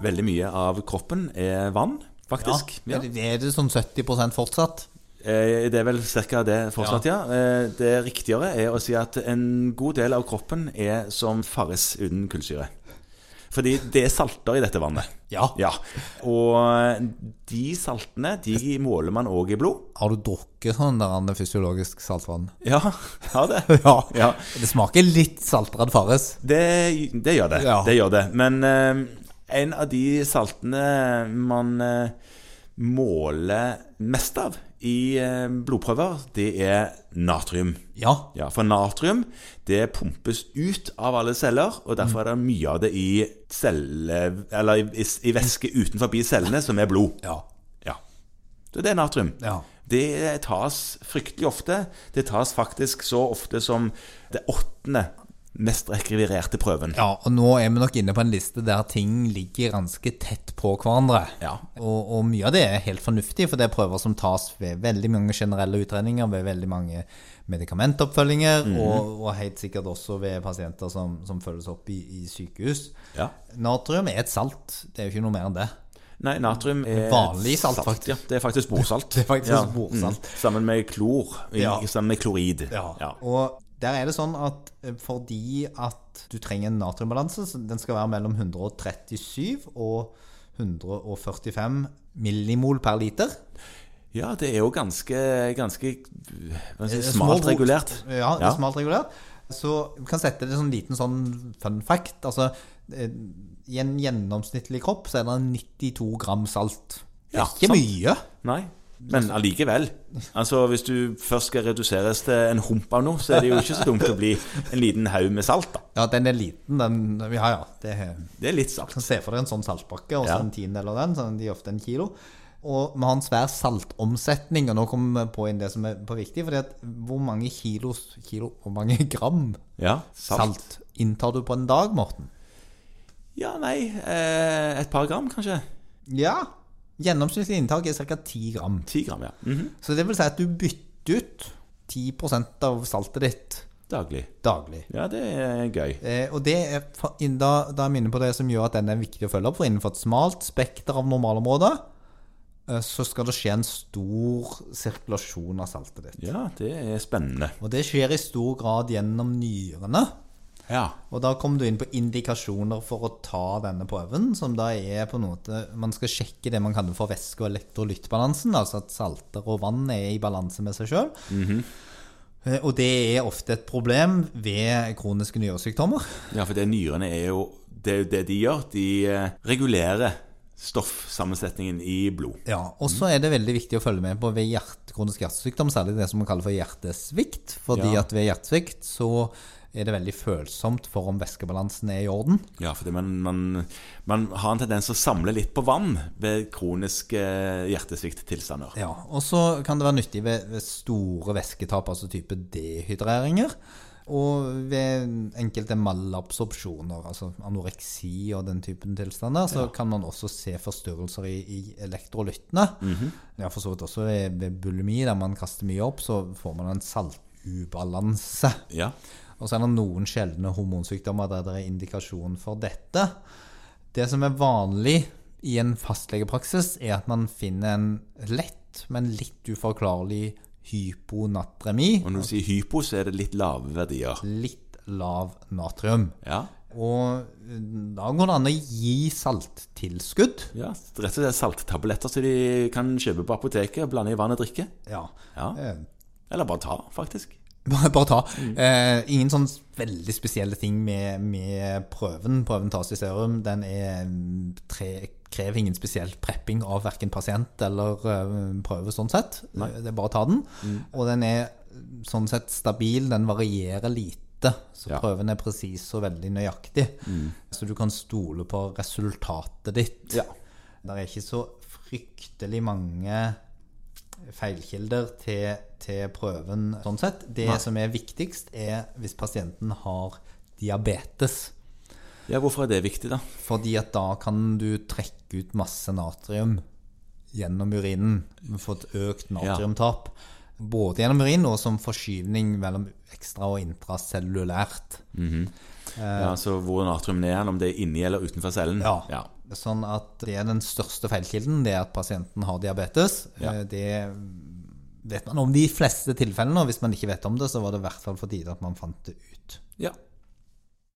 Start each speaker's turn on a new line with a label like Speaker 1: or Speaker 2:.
Speaker 1: Veldig mye av kroppen er vann, faktisk. Ja.
Speaker 2: Er det- Er det sånn 70 fortsatt?
Speaker 1: Eh, Det er vel ca. det fortsatt, ja. Eh, Det riktigere er å si at en god del av kroppen er som Farris uten kullsyre. Fordi det er salter i dette vannet.
Speaker 2: Ja.
Speaker 1: Ja. Og de saltene de måler man òg i blod.
Speaker 2: Har du drukket sånn der andre fysiologisk saltvann?
Speaker 1: Ja, ja det. Ja.
Speaker 2: Det smaker litt saltrad Farris.
Speaker 1: Det, det gjør det.
Speaker 2: Ja.
Speaker 1: det gjør det. Men eh, en av de saltene man eh, måler mest av i eh, blodprøver, det er natrium.
Speaker 2: Ja.
Speaker 1: Ja, For natrium det pumpes ut av alle celler, og derfor er det mye av det i, celle, eller i, i væske utenfor cellene, som er blod.
Speaker 2: Ja.
Speaker 1: Ja. Så det er natrium.
Speaker 2: Ja.
Speaker 1: Det tas fryktelig ofte. Det tas faktisk så ofte som det åttende mest rekvirerte prøven.
Speaker 2: Ja, og nå er vi nok inne på en liste der ting ligger ganske tett på hverandre.
Speaker 1: Ja.
Speaker 2: Og, og mye av det er helt fornuftig, for det er prøver som tas ved veldig mange generelle utredninger, ved veldig mange medikamentoppfølginger,
Speaker 1: Mhm.
Speaker 2: og, og helt sikkert også ved pasienter som, som følges opp i, i sykehus.
Speaker 1: Ja.
Speaker 2: Natrium er et salt, det er jo ikke noe mer enn det.
Speaker 1: Nei, natrium er
Speaker 2: Vanlig salt, faktisk.
Speaker 1: Ja, det er faktisk bordsalt.
Speaker 2: Det er faktisk bordsalt.
Speaker 1: Mm. Sammen med klor. i-
Speaker 2: Ja.
Speaker 1: Sammen med klorid. Ja.
Speaker 2: Og der er det sånn at eh, fordi at du trenger en natriumbalanse, så den skal være mellom 137 og 145 millimol per liter.
Speaker 1: ja, det er jo ganske, ganske hva skal jeg si,
Speaker 2: Eh,
Speaker 1: smalt
Speaker 2: små bord.
Speaker 1: regulert.
Speaker 2: Ja, det
Speaker 1: Ja.
Speaker 2: er smalt regulert. Så vi kan sette det som en liten sånn fun fact. Altså, eh, I en gjennomsnittlig kropp så er det 92 gram salt. Det er
Speaker 1: Ja,
Speaker 2: ikke
Speaker 1: sant.
Speaker 2: mye.
Speaker 1: Nei. Men allikevel. Altså, hvis du først skal reduseres til en hump av noe, så er det jo ikke så dumt å bli en liten haug med salt, da.
Speaker 2: Ja, den er liten, den. Ja, ja. Det er,
Speaker 1: Det er litt salt.
Speaker 2: kan se for deg en sånn saltpakke, og så
Speaker 1: Ja.
Speaker 2: en tiendedel av den. Sånn, de er ofte en kilo. Og vi har en svær saltomsetning, og nå kommer vi på inn det som er på viktig. fordi at hvor mange kilos, kilo, hvor mange gram
Speaker 1: Ja,
Speaker 2: salt. inntar du på en dag, Morten?
Speaker 1: Ja, nei, eh, et par gram kanskje.
Speaker 2: Ja. Gjennomsnittlig inntak er ca. 10 gram.
Speaker 1: Ti gram, ja. Mhm.
Speaker 2: Så det vil si at du bytter ut 10 av saltet ditt
Speaker 1: Daglig.
Speaker 2: daglig.
Speaker 1: Ja, det er gøy.
Speaker 2: Eh, og det er, fa- inn- da, da er vi inne på det som gjør at den er viktig å følge opp. For innenfor et smalt spekter av normalområder eh, så skal det skje en stor sirkulasjon av saltet ditt.
Speaker 1: Ja, det er spennende.
Speaker 2: Og det skjer i stor grad gjennom nyrene.
Speaker 1: Ja.
Speaker 2: Og da kommer du inn på indikasjoner for å ta denne prøven, som da er på en måte Man skal sjekke det man kaller for væske- og elektrolyttbalansen, altså at salter og vann er i balanse med seg sjøl. Og det er ofte et problem ved kroniske nyresykdommer.
Speaker 1: Ja, for det nyrene er jo det, er jo det de gjør. De eh, regulerer stoffsammensetningen i blod.
Speaker 2: Ja, og så er det veldig viktig å følge med på ved hjert, kronisk hjertesykdom, særlig det som man kaller for hjertesvikt. Fordi
Speaker 1: Ja.
Speaker 2: at ved hjertesvikt så er det veldig følsomt for om væskebalansen er i orden.
Speaker 1: Ja, fordi man, man, man har en tendens til å samle litt på vann ved kroniske eh, hjertesvikttilstander.
Speaker 2: Ja, og så kan det være nyttig ved, ved store væsketap, altså type dehydreringer, og ved enkelte malabsorpsjoner, altså anoreksi og den typen tilstander, så kan man også se forstyrrelser i, i elektrolyttene. Ja, for så vidt også ved, ved bulimi, der man kaster mye opp, så får man en saltubalanse.
Speaker 1: Ja.
Speaker 2: Og så er det noen sjeldne hormonsykdommer der det er indikasjon for dette. Det som er vanlig i en fastlegepraksis, er at man finner en lett, men litt uforklarlig hyponatremi.
Speaker 1: Og når du sier hypo, så er det litt lave verdier.
Speaker 2: Litt lav natrium.
Speaker 1: Ja.
Speaker 2: Og eh, da går det an å gi salttilskudd.
Speaker 1: ja. Rett og slett salttabletter som de kan kjøpe på apoteket, blande i vann og drikke.
Speaker 2: Ja.
Speaker 1: Ja.
Speaker 2: Eh,
Speaker 1: Eller bare ta, faktisk.
Speaker 2: Bare, bare ta. Eh, ingen sånn veldig spesielle ting med, med prøven. Prøven tas i serum. Den er mm, tre, krever ingen spesiell prepping av verken pasient eller eh, prøve, sånn sett. Det er bare å ta den. Og den er eh, sånn sett stabil. Den varierer lite. Så
Speaker 1: Ja.
Speaker 2: prøven er presis og veldig nøyaktig. Så du kan stole på resultatet ditt.
Speaker 1: Ja.
Speaker 2: Det er ikke så fryktelig mange feilkilder til, til prøven sånn sett. Det som er viktigst, er hvis pasienten har diabetes.
Speaker 1: Ja, hvorfor er det viktig, da?
Speaker 2: Fordi at da kan du trekke ut masse natrium gjennom urinen. Du får et økt natriumtap. Både gjennom urin og som forskyvning mellom ekstra- og intracellulært.
Speaker 1: Ja, så hvor natrium er han, om det er inni eller utenfor cellen?
Speaker 2: Ja. Sånn at det er den største feilkilden, det er at pasienten har diabetes.
Speaker 1: Ja.
Speaker 2: Eh, Det vet man om de fleste tilfellene, og hvis man ikke vet om det, så var det i hvert fall på tide at man fant det ut.
Speaker 1: ja.